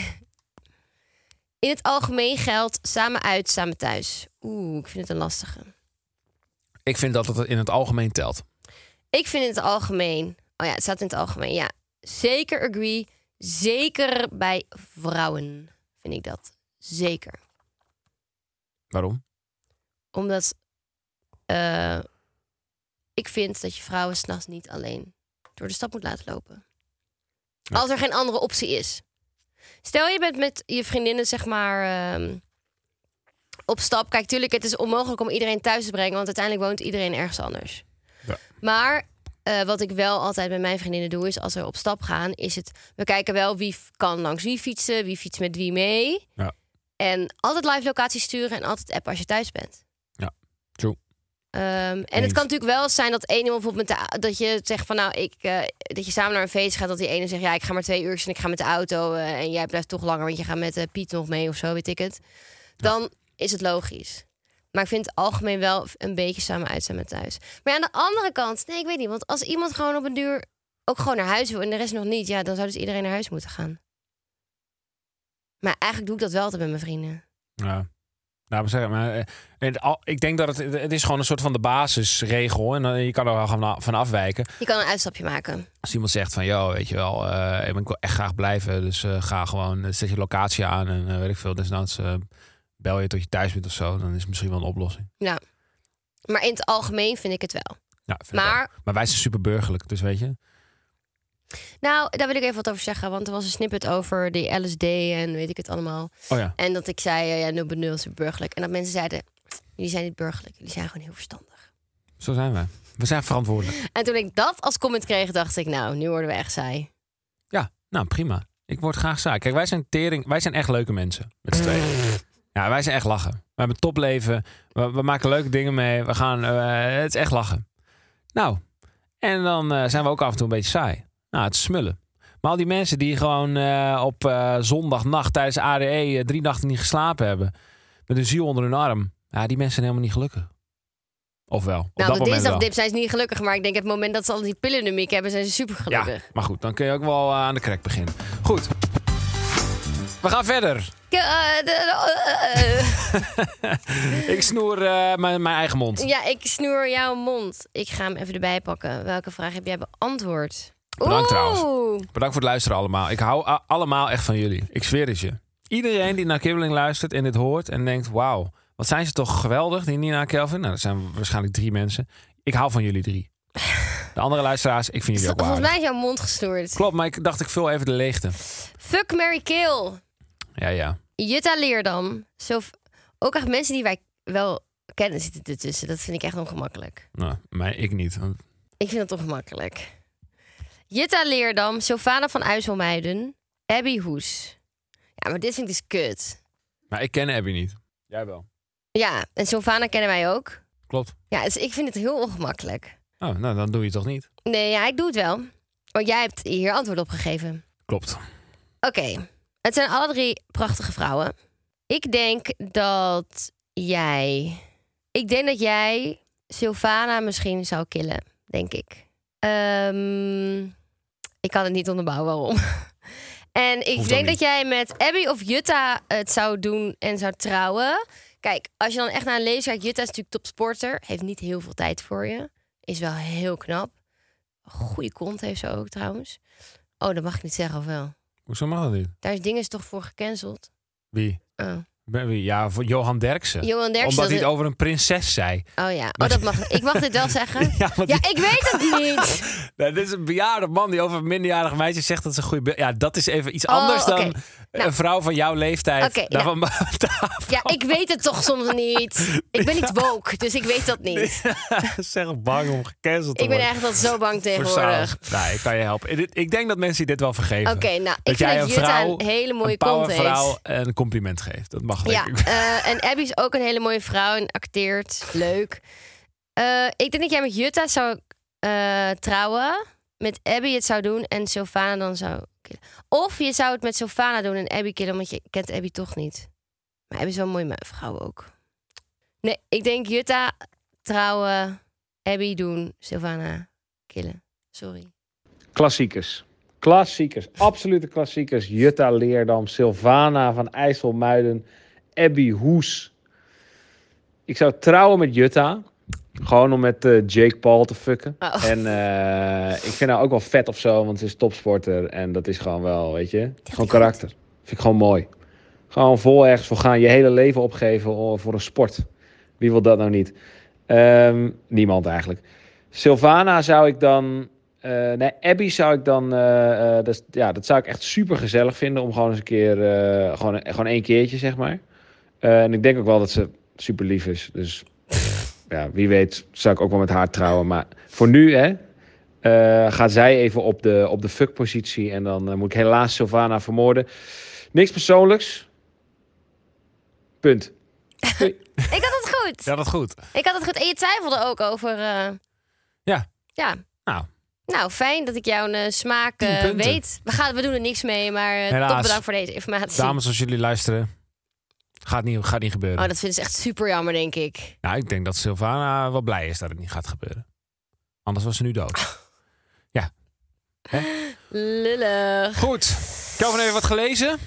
[SPEAKER 3] In het algemeen geldt samen uit, samen thuis. Oeh, ik vind het een lastige.
[SPEAKER 2] Ik vind dat het in het algemeen telt.
[SPEAKER 3] Ik vind in het algemeen Oh ja, het staat in het algemeen. Ja, zeker agree. Zeker bij vrouwen vind ik dat. Zeker.
[SPEAKER 2] Waarom?
[SPEAKER 3] Omdat eh, ik vind dat je vrouwen s'nachts niet alleen door de stad moet laten lopen. Als er geen andere optie is. Stel je bent met je vriendinnen, zeg maar, ehm, op stap. Kijk, tuurlijk, het is onmogelijk om iedereen thuis te brengen, want uiteindelijk woont iedereen ergens anders.
[SPEAKER 2] Ja.
[SPEAKER 3] Maar eh, wat ik wel altijd met mijn vriendinnen doe, is als we op stap gaan, is het. We kijken wel wie f- kan langs wie fietsen, wie fietst met wie mee.
[SPEAKER 2] Ja.
[SPEAKER 3] En altijd live locatie sturen en altijd app als je thuis bent.
[SPEAKER 2] True.
[SPEAKER 3] Ehm, en
[SPEAKER 2] Eens.
[SPEAKER 3] het kan natuurlijk wel zijn dat één iemand bijvoorbeeld met de, dat je zegt van nou ik eh, dat je samen naar een feest gaat dat die ene zegt ja ik ga maar twee uur en ik ga met de auto eh, en jij blijft toch langer want je gaat met eh, Piet nog mee of zo weet ik het. Dan is het logisch. Maar ik vind het algemeen wel een beetje samen uit zijn met thuis. Maar ja, aan de andere kant, nee, ik weet niet. Want als iemand gewoon op een duur ook gewoon naar huis wil en de rest nog niet, ja, dan zou dus iedereen naar huis moeten gaan. Maar eigenlijk doe ik dat wel altijd met mijn vrienden.
[SPEAKER 2] Ja. Nou, maar zeg maar, eh, het al- ik denk dat het, het is gewoon een soort van de basisregel. En eh, je kan er wel gewoon na- van afwijken.
[SPEAKER 3] Je kan een uitstapje maken.
[SPEAKER 2] Als iemand zegt van, joh, weet je wel, eh, ik wil echt graag blijven. Dus eh, ga gewoon, eh, zet je locatie aan en eh, weet ik veel. Desnoods eh, bel je tot je thuis bent of zo. Dan is het misschien wel een oplossing.
[SPEAKER 3] Ja. Maar in het algemeen vind ik het wel.
[SPEAKER 2] Ja, vind ik
[SPEAKER 3] Maar-
[SPEAKER 2] ook. maar wij zijn super burgerlijk, dus weet je.
[SPEAKER 3] Nou, daar wil ik even wat over zeggen. Want er was een snippet over die LSD en weet ik het allemaal.
[SPEAKER 2] Oh ja.
[SPEAKER 3] En dat ik zei, eh, ja, nul benul is burgerlijk. En dat mensen zeiden, jullie zijn niet burgerlijk. Jullie zijn gewoon heel verstandig.
[SPEAKER 2] Zo zijn wij. We zijn verantwoordelijk.
[SPEAKER 3] En toen ik dat als comment kreeg, dacht ik, nou, nu worden we echt saai.
[SPEAKER 2] Ja, nou prima. Ik word graag zaak. Kijk, wij zijn tering. Wij zijn echt leuke mensen. Met z'n tweeën. Ja, wij zijn echt lachen. We hebben topleven. We, we maken leuke dingen mee. We gaan. eh, het is echt lachen. Nou, en dan eh, zijn we ook af en toe een beetje saai. Nou, het is smullen. Maar al die mensen die gewoon eh, op eh, zondagnacht tijdens ADE eh, drie nachten niet geslapen hebben. Met een ziel onder hun arm. Ja, die mensen zijn helemaal niet gelukkig. Of wel? Op dat
[SPEAKER 3] nou, op de
[SPEAKER 2] moment wel.
[SPEAKER 3] dinsdagdip zijn ze niet gelukkig. Maar ik denk het moment dat ze al die pillen in de mik hebben, zijn ze super
[SPEAKER 2] Ja,
[SPEAKER 3] gelukkig.
[SPEAKER 2] maar goed, dan kun je ook wel eh, aan de crack beginnen. Goed. We gaan verder.
[SPEAKER 3] Ja, eh,
[SPEAKER 2] Ik snoer eh, mijn, mijn eigen mond.
[SPEAKER 3] ja ik snoer jouw mond. Ik ga hem even erbij pakken. Welke vraag heb jij beantwoord?
[SPEAKER 2] Bedankt trouwens.
[SPEAKER 3] Oeh.
[SPEAKER 2] Bedankt voor het luisteren allemaal. Ik hou a- allemaal echt van jullie. Ik zweer het je. Iedereen die naar Kibbeling luistert en dit hoort en denkt... wauw, wat zijn ze toch geweldig, die Nina en Kelvin. Nou, dat zijn waarschijnlijk drie mensen. Ik hou van jullie drie. De andere luisteraars, ik vind jullie ook wel
[SPEAKER 3] Volgens
[SPEAKER 2] aardig.
[SPEAKER 3] mij is jouw mond gesnoerd.
[SPEAKER 2] Klopt, maar ik dacht ik vul even de leegte.
[SPEAKER 3] Fuck Mary Kill.
[SPEAKER 2] Ja, ja.
[SPEAKER 3] Jutta Leerdam. Zo, ook echt mensen die wij wel kennen zitten ertussen. Dat vind ik echt ongemakkelijk.
[SPEAKER 2] Nou, maar ik niet. want-
[SPEAKER 3] Ik vind dat ongemakkelijk. Jutta Leerdam, Sylvana van IJsselmuiden, Abby Hoes. Ja, maar dit vind ik dus kut.
[SPEAKER 2] Maar ik ken Abby niet. Jij wel.
[SPEAKER 3] Ja, en Sylvana kennen wij ook.
[SPEAKER 2] Klopt.
[SPEAKER 3] Ja, dus ik vind het heel ongemakkelijk.
[SPEAKER 2] Oh, nou, dan doe je het toch niet?
[SPEAKER 3] Nee, ja, ik doe het wel. Want jij hebt hier antwoord op gegeven.
[SPEAKER 2] Klopt.
[SPEAKER 3] Oké, het zijn alle drie prachtige vrouwen. Ik denk dat jij. Ik denk dat jij Sylvana misschien zou killen, denk ik. Ehm, ik kan het niet onderbouwen waarom. En ik
[SPEAKER 2] ook
[SPEAKER 3] denk
[SPEAKER 2] niet.
[SPEAKER 3] dat jij met Abby of Jutta het zou doen en zou trouwen. Kijk, als je dan echt naar een lezer kijkt, Jutta is natuurlijk topsporter. Heeft niet heel veel tijd voor je. Is wel heel knap. Goede kont heeft ze ook trouwens. Oh, dat mag ik niet zeggen, of wel?
[SPEAKER 2] Hoezo mag dat niet?
[SPEAKER 3] Daar is dingen toch voor gecanceld.
[SPEAKER 2] Wie?
[SPEAKER 3] Oh,
[SPEAKER 2] Ben- wie? Ja, voor Johan Derksen.
[SPEAKER 3] Johan Derksen,
[SPEAKER 2] Omdat
[SPEAKER 3] dat
[SPEAKER 2] hij het
[SPEAKER 3] is-
[SPEAKER 2] over een prinses zei.
[SPEAKER 3] oh ja, oh, dat mag. ik mag dit wel zeggen.
[SPEAKER 2] Ja, want
[SPEAKER 3] Ja,
[SPEAKER 2] die-
[SPEAKER 3] ik weet het niet.
[SPEAKER 2] Nou, dit is een bejaarde man die over een minderjarige meisje zegt dat ze een goede... be- Ja, dat is even iets
[SPEAKER 3] Oh,
[SPEAKER 2] anders dan
[SPEAKER 3] oké. Nou.
[SPEAKER 2] een vrouw van jouw leeftijd.
[SPEAKER 3] Oké, nou.
[SPEAKER 2] daarvan tafel.
[SPEAKER 3] Ja, ik weet het toch soms niet. Ik ben niet woke, dus ik weet dat niet.
[SPEAKER 2] zeg bang om gecanceld te
[SPEAKER 3] Ik ben
[SPEAKER 2] worden.
[SPEAKER 3] echt al zo bang
[SPEAKER 2] Voor
[SPEAKER 3] tegenwoordig.
[SPEAKER 2] zaal. Nou, ik kan je helpen. Dit- Ik denk dat mensen dit wel vergeven.
[SPEAKER 3] Oké, nou,
[SPEAKER 2] dat
[SPEAKER 3] ik vind
[SPEAKER 2] jij
[SPEAKER 3] dat
[SPEAKER 2] een
[SPEAKER 3] Jutta
[SPEAKER 2] vrouw,
[SPEAKER 3] een hele mooie
[SPEAKER 2] een
[SPEAKER 3] kont
[SPEAKER 2] powervrouw, een compliment geeft. Dat mag
[SPEAKER 3] Ja,
[SPEAKER 2] denk ik.
[SPEAKER 3] eh, en Abby is ook een hele mooie vrouw en acteert. Leuk. Eh, ik denk dat jij met Jutta zou eh, trouwen. Met Abby het zou doen en Sylvana dan zou killen. Of je zou het met Sylvana doen en Abby killen, want je kent Abby toch niet. Maar Abby is wel een mooie me- vrouw ook. Nee, ik denk Jutta trouwen, Abby doen, Sylvana killen. Sorry.
[SPEAKER 7] Klassiekers. Klassiekers. Absolute klassiekers. Jutta Leerdam, Sylvana van IJsselmuiden, Abby Hoes. Ik zou trouwen met Jutta. Gewoon om met eh, Jake Paul te fucken.
[SPEAKER 3] Oh.
[SPEAKER 7] En eh, ik vind haar ook wel vet of zo, want ze is topsporter. En dat is gewoon wel, weet je, gewoon karakter. Vind ik gewoon mooi. Gewoon vol ergens voor gaan. Je hele leven opgeven o- voor een sport. Wie wil dat nou niet? Ehm, niemand eigenlijk. Sylvana zou ik dan... eh, nee, Abby zou ik dan... eh, eh, dat, is- ja, dat zou ik echt super gezellig vinden om gewoon eens een keer... eh, gewoon, gewoon één keertje, zeg maar. Eh, en ik denk ook wel dat ze super lief is. Dus ja, wie weet zou ik ook wel met haar trouwen. Maar voor nu hè, eh, gaat zij even op de, op de fuckpositie. En dan eh, moet ik helaas Sylvana vermoorden. Niks persoonlijks. Punt.
[SPEAKER 3] Ik had het goed.
[SPEAKER 2] Ja, dat goed.
[SPEAKER 3] Ik had het goed. En je twijfelde ook over... eh,
[SPEAKER 2] Ja.
[SPEAKER 3] Ja.
[SPEAKER 2] Nou.
[SPEAKER 3] Nou, fijn dat ik jouw eh, smaak
[SPEAKER 2] Tien
[SPEAKER 3] eh,
[SPEAKER 2] punten.
[SPEAKER 3] weet. We, gaan, we doen er niks mee, maar eh,
[SPEAKER 2] Helaas.
[SPEAKER 3] toch bedankt voor deze informatie.
[SPEAKER 2] Dames, als jullie luisteren, gaat niet, gaat niet gebeuren.
[SPEAKER 3] Oh, dat vinden ze echt super jammer, denk ik.
[SPEAKER 2] Nou, ik denk dat Sylvana wel blij is dat het niet gaat gebeuren. Anders was ze nu dood.
[SPEAKER 3] Lullig.
[SPEAKER 2] Goed. Kelvin heeft wat gelezen.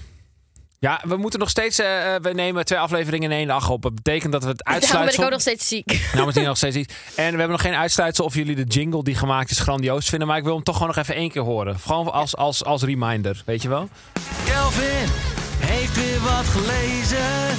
[SPEAKER 2] Ja, we moeten nog steeds... eh, eh, we nemen twee afleveringen in één dag op. Dat betekent dat we het
[SPEAKER 3] Daarom ben ik
[SPEAKER 2] uitsluitsel...
[SPEAKER 3] ook nog steeds ziek.
[SPEAKER 2] Namens die nog steeds niet. En we hebben nog geen uitsluitsel of jullie de jingle die gemaakt is grandioos vinden. Maar ik wil hem toch gewoon nog even één keer horen. Gewoon als, als, als reminder, weet je wel?
[SPEAKER 6] Kelvin heeft weer wat gelezen.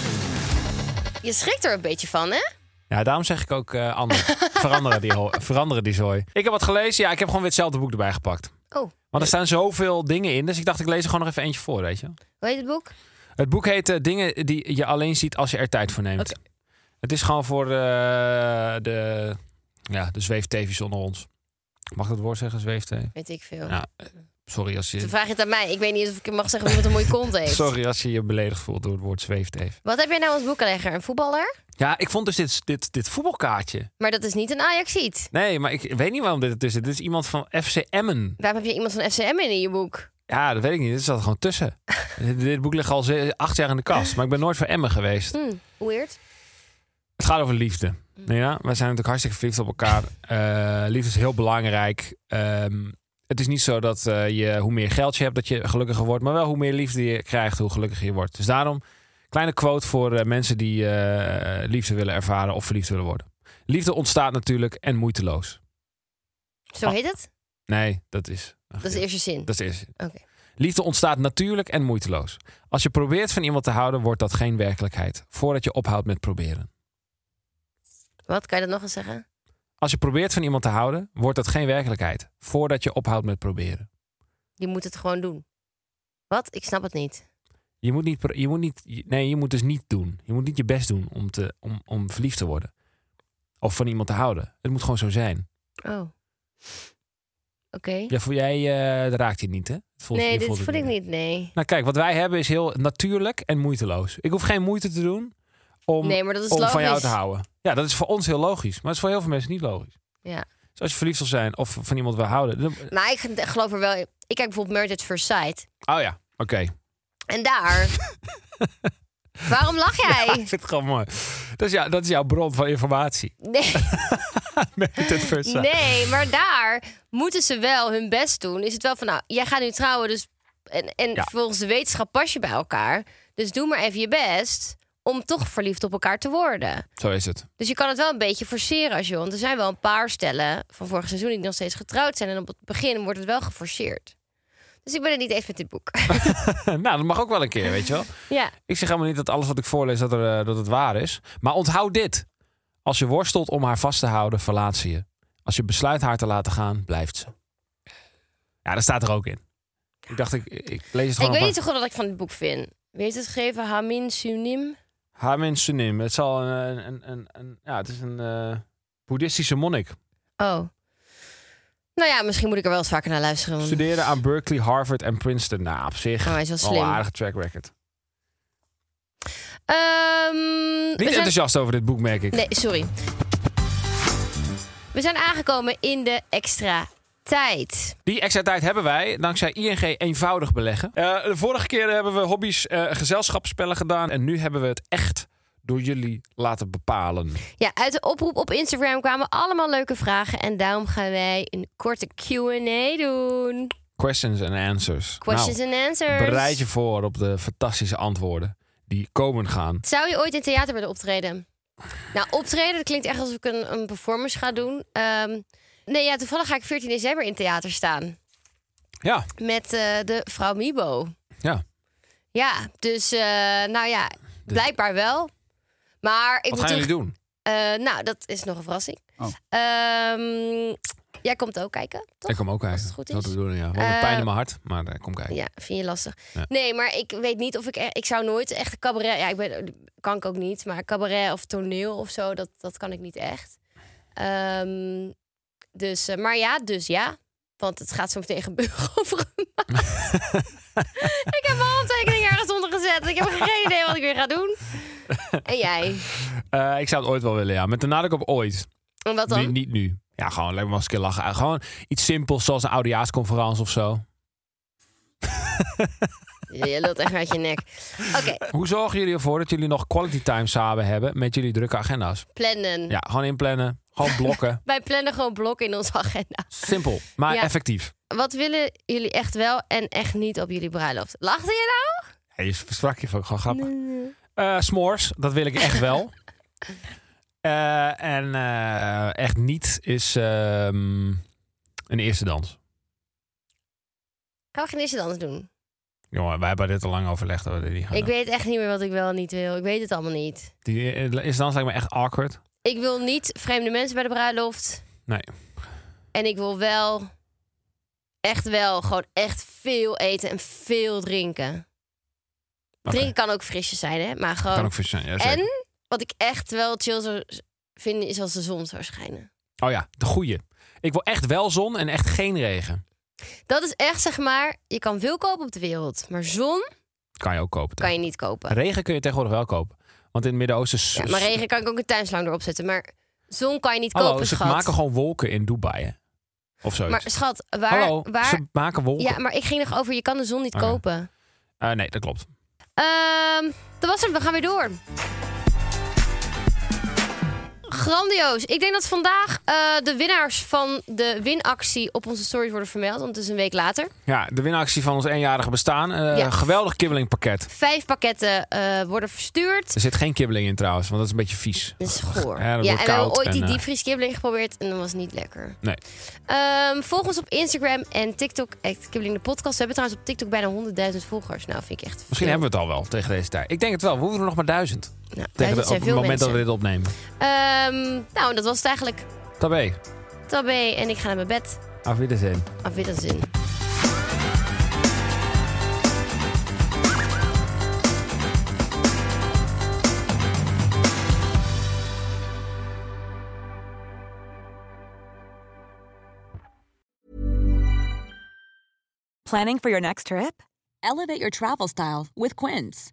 [SPEAKER 3] Je schrikt er een beetje van, hè?
[SPEAKER 2] Ja, daarom zeg ik ook eh Anne, veranderen die, ho- veranderen die zooi. Ik heb wat gelezen. Ja, ik heb gewoon weer hetzelfde boek erbij gepakt.
[SPEAKER 3] Oh,
[SPEAKER 2] Want er staan zoveel dingen in. Dus ik dacht, ik lees er gewoon nog even eentje voor, weet je wel?
[SPEAKER 3] hoe heet het boek?
[SPEAKER 2] Het boek heet eh, Dingen die je alleen ziet als je er tijd voor neemt. Het is gewoon voor eh, de, ja, de zweeftevies onder ons. Mag ik dat woord zeggen, zweeftee?
[SPEAKER 3] Weet ik veel.
[SPEAKER 2] Ja. Sorry als
[SPEAKER 3] Toen
[SPEAKER 2] je,
[SPEAKER 3] vraag je het aan mij. Ik weet niet of ik mag zeggen wie wat een mooie kont heeft.
[SPEAKER 2] sorry als je, je beledigd voelt door het woord zweefteef.
[SPEAKER 3] Wat heb jij nou als boekenlegger? Een voetballer?
[SPEAKER 2] Ja, ik vond dus dit, dit, dit voetbalkaartje.
[SPEAKER 3] Maar dat is niet een Ajaxiet.
[SPEAKER 2] Nee, maar ik weet niet waarom dit er tussen. Dit is iemand van FC Emmen.
[SPEAKER 3] Waarom heb je iemand van FCM in je boek?
[SPEAKER 2] Ja, dat weet ik niet. Dit zat er gewoon tussen. dit, dit boek ligt al ze- acht jaar in de kast. Maar ik ben nooit voor Emmen geweest.
[SPEAKER 3] Hm, weird.
[SPEAKER 2] Het gaat over liefde. Nou Ja, wij zijn natuurlijk hartstikke verliefd op elkaar. Eh, liefde is heel belangrijk. Ehm, het is niet zo dat eh, je hoe meer geld je hebt, dat je gelukkiger wordt. Maar wel hoe meer liefde je krijgt, hoe gelukkiger je wordt. Dus daarom, kleine quote voor eh, mensen die eh, liefde willen ervaren of verliefd willen worden. Liefde ontstaat natuurlijk en moeiteloos.
[SPEAKER 3] Zo
[SPEAKER 2] Ah.
[SPEAKER 3] heet het?
[SPEAKER 2] Nee, dat is.
[SPEAKER 3] Dat is de eerste zin.
[SPEAKER 2] Dat is de eerste.
[SPEAKER 3] Oké.
[SPEAKER 2] Liefde ontstaat natuurlijk en moeiteloos. Als je probeert van iemand te houden, wordt dat geen werkelijkheid. Voordat je ophoudt met proberen.
[SPEAKER 3] Wat? Kan je dat nog eens zeggen?
[SPEAKER 2] Als je probeert van iemand te houden, wordt dat geen werkelijkheid. Voordat je ophoudt met proberen.
[SPEAKER 3] Je moet het gewoon doen. Wat? Ik snap het niet.
[SPEAKER 2] Je moet, niet, pro- je moet, niet, je- nee, je moet dus niet doen. Je moet niet je best doen om, te, om, om verliefd te worden. Of van iemand te houden. Het moet gewoon zo zijn.
[SPEAKER 3] Oh. Oké.
[SPEAKER 2] Ja, voel jij eh, dat raakt je niet, hè? Het voelt- je
[SPEAKER 3] nee, dit
[SPEAKER 2] voelt het
[SPEAKER 3] voel ik niet. Nee.
[SPEAKER 2] Nou kijk, wat wij hebben is heel natuurlijk en moeiteloos. Ik hoef geen moeite te doen om,
[SPEAKER 3] nee, maar dat is
[SPEAKER 2] om
[SPEAKER 3] logisch.
[SPEAKER 2] van jou te houden. Ja, dat is voor ons heel logisch. Maar het is voor heel veel mensen niet logisch.
[SPEAKER 3] Ja.
[SPEAKER 2] Dus als je verliefd wil zijn of van iemand wil houden. dan-
[SPEAKER 3] Maar ik geloof er wel. in. Ik kijk bijvoorbeeld Married at First Sight.
[SPEAKER 2] Oh ja, oké.
[SPEAKER 3] En daar. Waarom lach jij?
[SPEAKER 2] Ik vind het gewoon mooi. Dat is, jou- dat is jouw bron van informatie.
[SPEAKER 3] Nee.
[SPEAKER 2] Met het first sight.
[SPEAKER 3] Nee, maar daar moeten ze wel hun best doen. Is het wel van, nou, jij gaat nu trouwen, dus. En, en
[SPEAKER 2] Ja.
[SPEAKER 3] volgens de wetenschap pas je bij elkaar. Dus doe maar even je best om toch verliefd op elkaar te worden.
[SPEAKER 2] Zo is het.
[SPEAKER 3] Dus je kan het wel een beetje forceren als je wil. Want er zijn wel een paar stellen van vorig seizoen die nog steeds getrouwd zijn. En op het begin wordt het wel geforceerd. Dus ik ben het niet eens met dit boek.
[SPEAKER 2] nou, dat mag ook wel een keer, weet je wel.
[SPEAKER 3] ja,
[SPEAKER 2] Ik zeg helemaal niet dat alles wat ik voorlees, dat, er, eh, dat het waar is. Maar onthoud dit. Als je worstelt om haar vast te houden, verlaat ze je. Als je besluit haar te laten gaan, blijft ze. Ja, dat staat er ook in. Ik dacht, ik, ik lees het
[SPEAKER 3] ik
[SPEAKER 2] gewoon
[SPEAKER 3] weet
[SPEAKER 2] op
[SPEAKER 3] niet zo goed wat ik van dit boek vind. Wie heeft het gegeven? Hamin Sunim?
[SPEAKER 2] haar mensen nemen. Het, zal een, een, een, een- ja, het is een eh, boeddhistische monnik.
[SPEAKER 3] Oh. Nou ja, misschien moet ik er wel eens vaker naar luisteren. want-
[SPEAKER 2] Studeerde aan Berkeley, Harvard en Princeton. Nou, op zich
[SPEAKER 3] Oh, hij is wel
[SPEAKER 2] een
[SPEAKER 3] slim.
[SPEAKER 2] aardige track record.
[SPEAKER 3] Ehm,
[SPEAKER 2] Niet
[SPEAKER 3] we zijn-
[SPEAKER 2] enthousiast over dit boek, merk ik.
[SPEAKER 3] Nee, sorry. We zijn aangekomen in de extra tijd.
[SPEAKER 2] Die extra tijd hebben wij dankzij ING eenvoudig beleggen. Eh, de vorige keer hebben we hobby's, eh gezelschapsspellen gedaan. En nu hebben we het echt door jullie laten bepalen.
[SPEAKER 3] Ja, uit de oproep op Instagram kwamen allemaal leuke vragen. En daarom gaan wij een korte QA doen.
[SPEAKER 2] Questions and answers.
[SPEAKER 3] Questions
[SPEAKER 2] Nou,
[SPEAKER 3] and answers.
[SPEAKER 2] Bereid je voor op de fantastische antwoorden die komen gaan.
[SPEAKER 3] Zou je ooit in theater willen optreden? Nou, optreden, dat klinkt echt alsof ik een, een performance ga doen. Ehm, nee, ja, toevallig ga ik 14 december in het theater staan.
[SPEAKER 2] Ja,
[SPEAKER 3] Met eh, de vrouw Mibo.
[SPEAKER 2] ja.
[SPEAKER 3] Ja, dus eh, nou ja, blijkbaar wel. Maar ik
[SPEAKER 2] Wat
[SPEAKER 3] moet
[SPEAKER 2] gaan jullie
[SPEAKER 3] terug-
[SPEAKER 2] doen?
[SPEAKER 3] Eh, nou, dat is nog een verrassing.
[SPEAKER 4] Oh.
[SPEAKER 3] Ehm, jij komt ook kijken, toch?
[SPEAKER 2] Ik kom ook kijken.
[SPEAKER 3] het goed
[SPEAKER 2] Dat
[SPEAKER 3] is.
[SPEAKER 2] is de bedoeling, ja. Wel een
[SPEAKER 3] Eh,
[SPEAKER 2] pijn in mijn hart, maar eh, kom kijken.
[SPEAKER 3] Ja, vind je lastig.
[SPEAKER 2] Ja.
[SPEAKER 3] Nee, maar ik weet niet of ik... e- Ik zou nooit echt cabaret... Ja, ik ben, kan ik ook niet. Maar cabaret of toneel of zo, dat, dat kan ik niet echt. Ehm, dus, eh, maar ja, dus ja. Want het gaat zo meteen gebeuren over een maand. ik heb mijn handtekening ergens onder gezet. Ik heb geen idee wat ik weer ga doen. En jij?
[SPEAKER 2] Eh, ik zou het ooit wel willen, ja. Met de nadruk op ooit.
[SPEAKER 3] En wat
[SPEAKER 2] Niet,
[SPEAKER 3] dan?
[SPEAKER 2] niet nu. Ja, gewoon lekker maar eens een keer lachen. Eh, Gewoon iets simpels zoals een oudejaarsconferentie of zo.
[SPEAKER 3] Je lult echt uit je nek. Oké,
[SPEAKER 2] Hoe zorgen jullie ervoor dat jullie nog quality time samen hebben met jullie drukke agenda's?
[SPEAKER 3] Mm. plannen.
[SPEAKER 2] Ja, gewoon inplannen. Gewoon blokken.
[SPEAKER 3] Wij plannen gewoon blokken in onze agenda.
[SPEAKER 2] Simpel, maar
[SPEAKER 3] Ja.
[SPEAKER 2] effectief.
[SPEAKER 3] Wat willen jullie echt wel en echt niet op jullie bruiloft? Lachte je nou?
[SPEAKER 2] Ja, je sprak je van gewoon grappig. Eh, s'mores, dat wil ik echt wel. Eh, en eh, echt niet is ehm, een eerste dans.
[SPEAKER 3] Gaan we geen eerste dans doen?
[SPEAKER 2] Jongen, wij hebben dit al lang overlegd. Dat we dit niet gaan
[SPEAKER 3] Ik
[SPEAKER 2] doen.
[SPEAKER 3] weet echt niet meer wat ik wel en niet wil. Ik weet het allemaal niet.
[SPEAKER 2] Die eh, eerste dans lijkt me echt awkward.
[SPEAKER 3] Ik wil niet vreemde mensen bij de bruiloft.
[SPEAKER 2] Nee.
[SPEAKER 3] En ik wil wel, echt wel, gewoon echt veel eten en veel drinken.
[SPEAKER 2] Oké.
[SPEAKER 3] Drinken kan ook frisjes zijn, hè? Maar
[SPEAKER 2] Kan
[SPEAKER 3] gewoon.
[SPEAKER 2] ook verstaan. Ja, zeker.
[SPEAKER 3] en wat ik echt wel chill zou vinden is als de zon zou schijnen.
[SPEAKER 2] Oh ja, de goeie. Ik wil echt wel zon en echt geen regen.
[SPEAKER 3] Dat is echt zeg maar, je kan veel kopen op de wereld, maar zon
[SPEAKER 2] Kan je ook kopen.
[SPEAKER 3] kan je niet kopen.
[SPEAKER 2] Regen kun je tegenwoordig wel kopen. Want in het Midden-Oosten... is-
[SPEAKER 3] Ja, maar regen kan ik ook een tuinslang erop zetten, maar zon kan je niet
[SPEAKER 2] Hallo,
[SPEAKER 3] kopen,
[SPEAKER 2] ze
[SPEAKER 3] schat.
[SPEAKER 2] maken gewoon wolken in Dubai, hè? Of zoiets.
[SPEAKER 3] Maar schat, waar,
[SPEAKER 2] Hallo,
[SPEAKER 3] waar?
[SPEAKER 2] ze Oh maken wolken.
[SPEAKER 3] Ja, maar ik ging nog over, je kan de zon niet
[SPEAKER 2] Oké.
[SPEAKER 3] kopen.
[SPEAKER 2] Eh, nee, dat klopt.
[SPEAKER 3] Ehm, dat was het, we gaan weer door. Grandioos. Ik denk dat vandaag eh, de winnaars van de winactie op onze stories worden vermeld, want het is een week later.
[SPEAKER 2] Ja, de winactie van ons eenjarige bestaan. Eh,
[SPEAKER 3] Ja.
[SPEAKER 2] Geweldig kibbelingpakket.
[SPEAKER 3] Vijf pakketten eh, worden verstuurd.
[SPEAKER 2] Er zit geen kibbeling in trouwens, want dat is een beetje vies.
[SPEAKER 3] Dat is goor.
[SPEAKER 2] Ja, dat
[SPEAKER 3] Ja, en
[SPEAKER 2] wordt
[SPEAKER 3] we hebben
[SPEAKER 2] koud
[SPEAKER 3] ooit die
[SPEAKER 2] en, eh,
[SPEAKER 3] diepvrieskibbeling geprobeerd en dat was niet lekker.
[SPEAKER 2] Nee.
[SPEAKER 3] Ehm, volg ons op Instagram en TikTok. echt Kibbeling de podcast. We hebben trouwens op TikTok bijna 100.000 volgers. Nou, vind ik echt
[SPEAKER 2] Misschien hebben we het al wel tegen deze tijd. Ik denk het wel. We hoeven er nog maar duizend.
[SPEAKER 3] we nou,
[SPEAKER 2] Tegen
[SPEAKER 3] duizend
[SPEAKER 2] de- op
[SPEAKER 3] zijn
[SPEAKER 2] het
[SPEAKER 3] veel
[SPEAKER 2] moment dat we
[SPEAKER 3] mensen.
[SPEAKER 2] dit opnemen.
[SPEAKER 3] Ehm, nou, dat was het eigenlijk.
[SPEAKER 2] Tabé,
[SPEAKER 3] Tabé en ik ga naar mijn bed.
[SPEAKER 2] af wiedersehen.
[SPEAKER 3] Auf Wiedersehen.
[SPEAKER 8] Planning for your next trip? Elevate your travel style with Quince.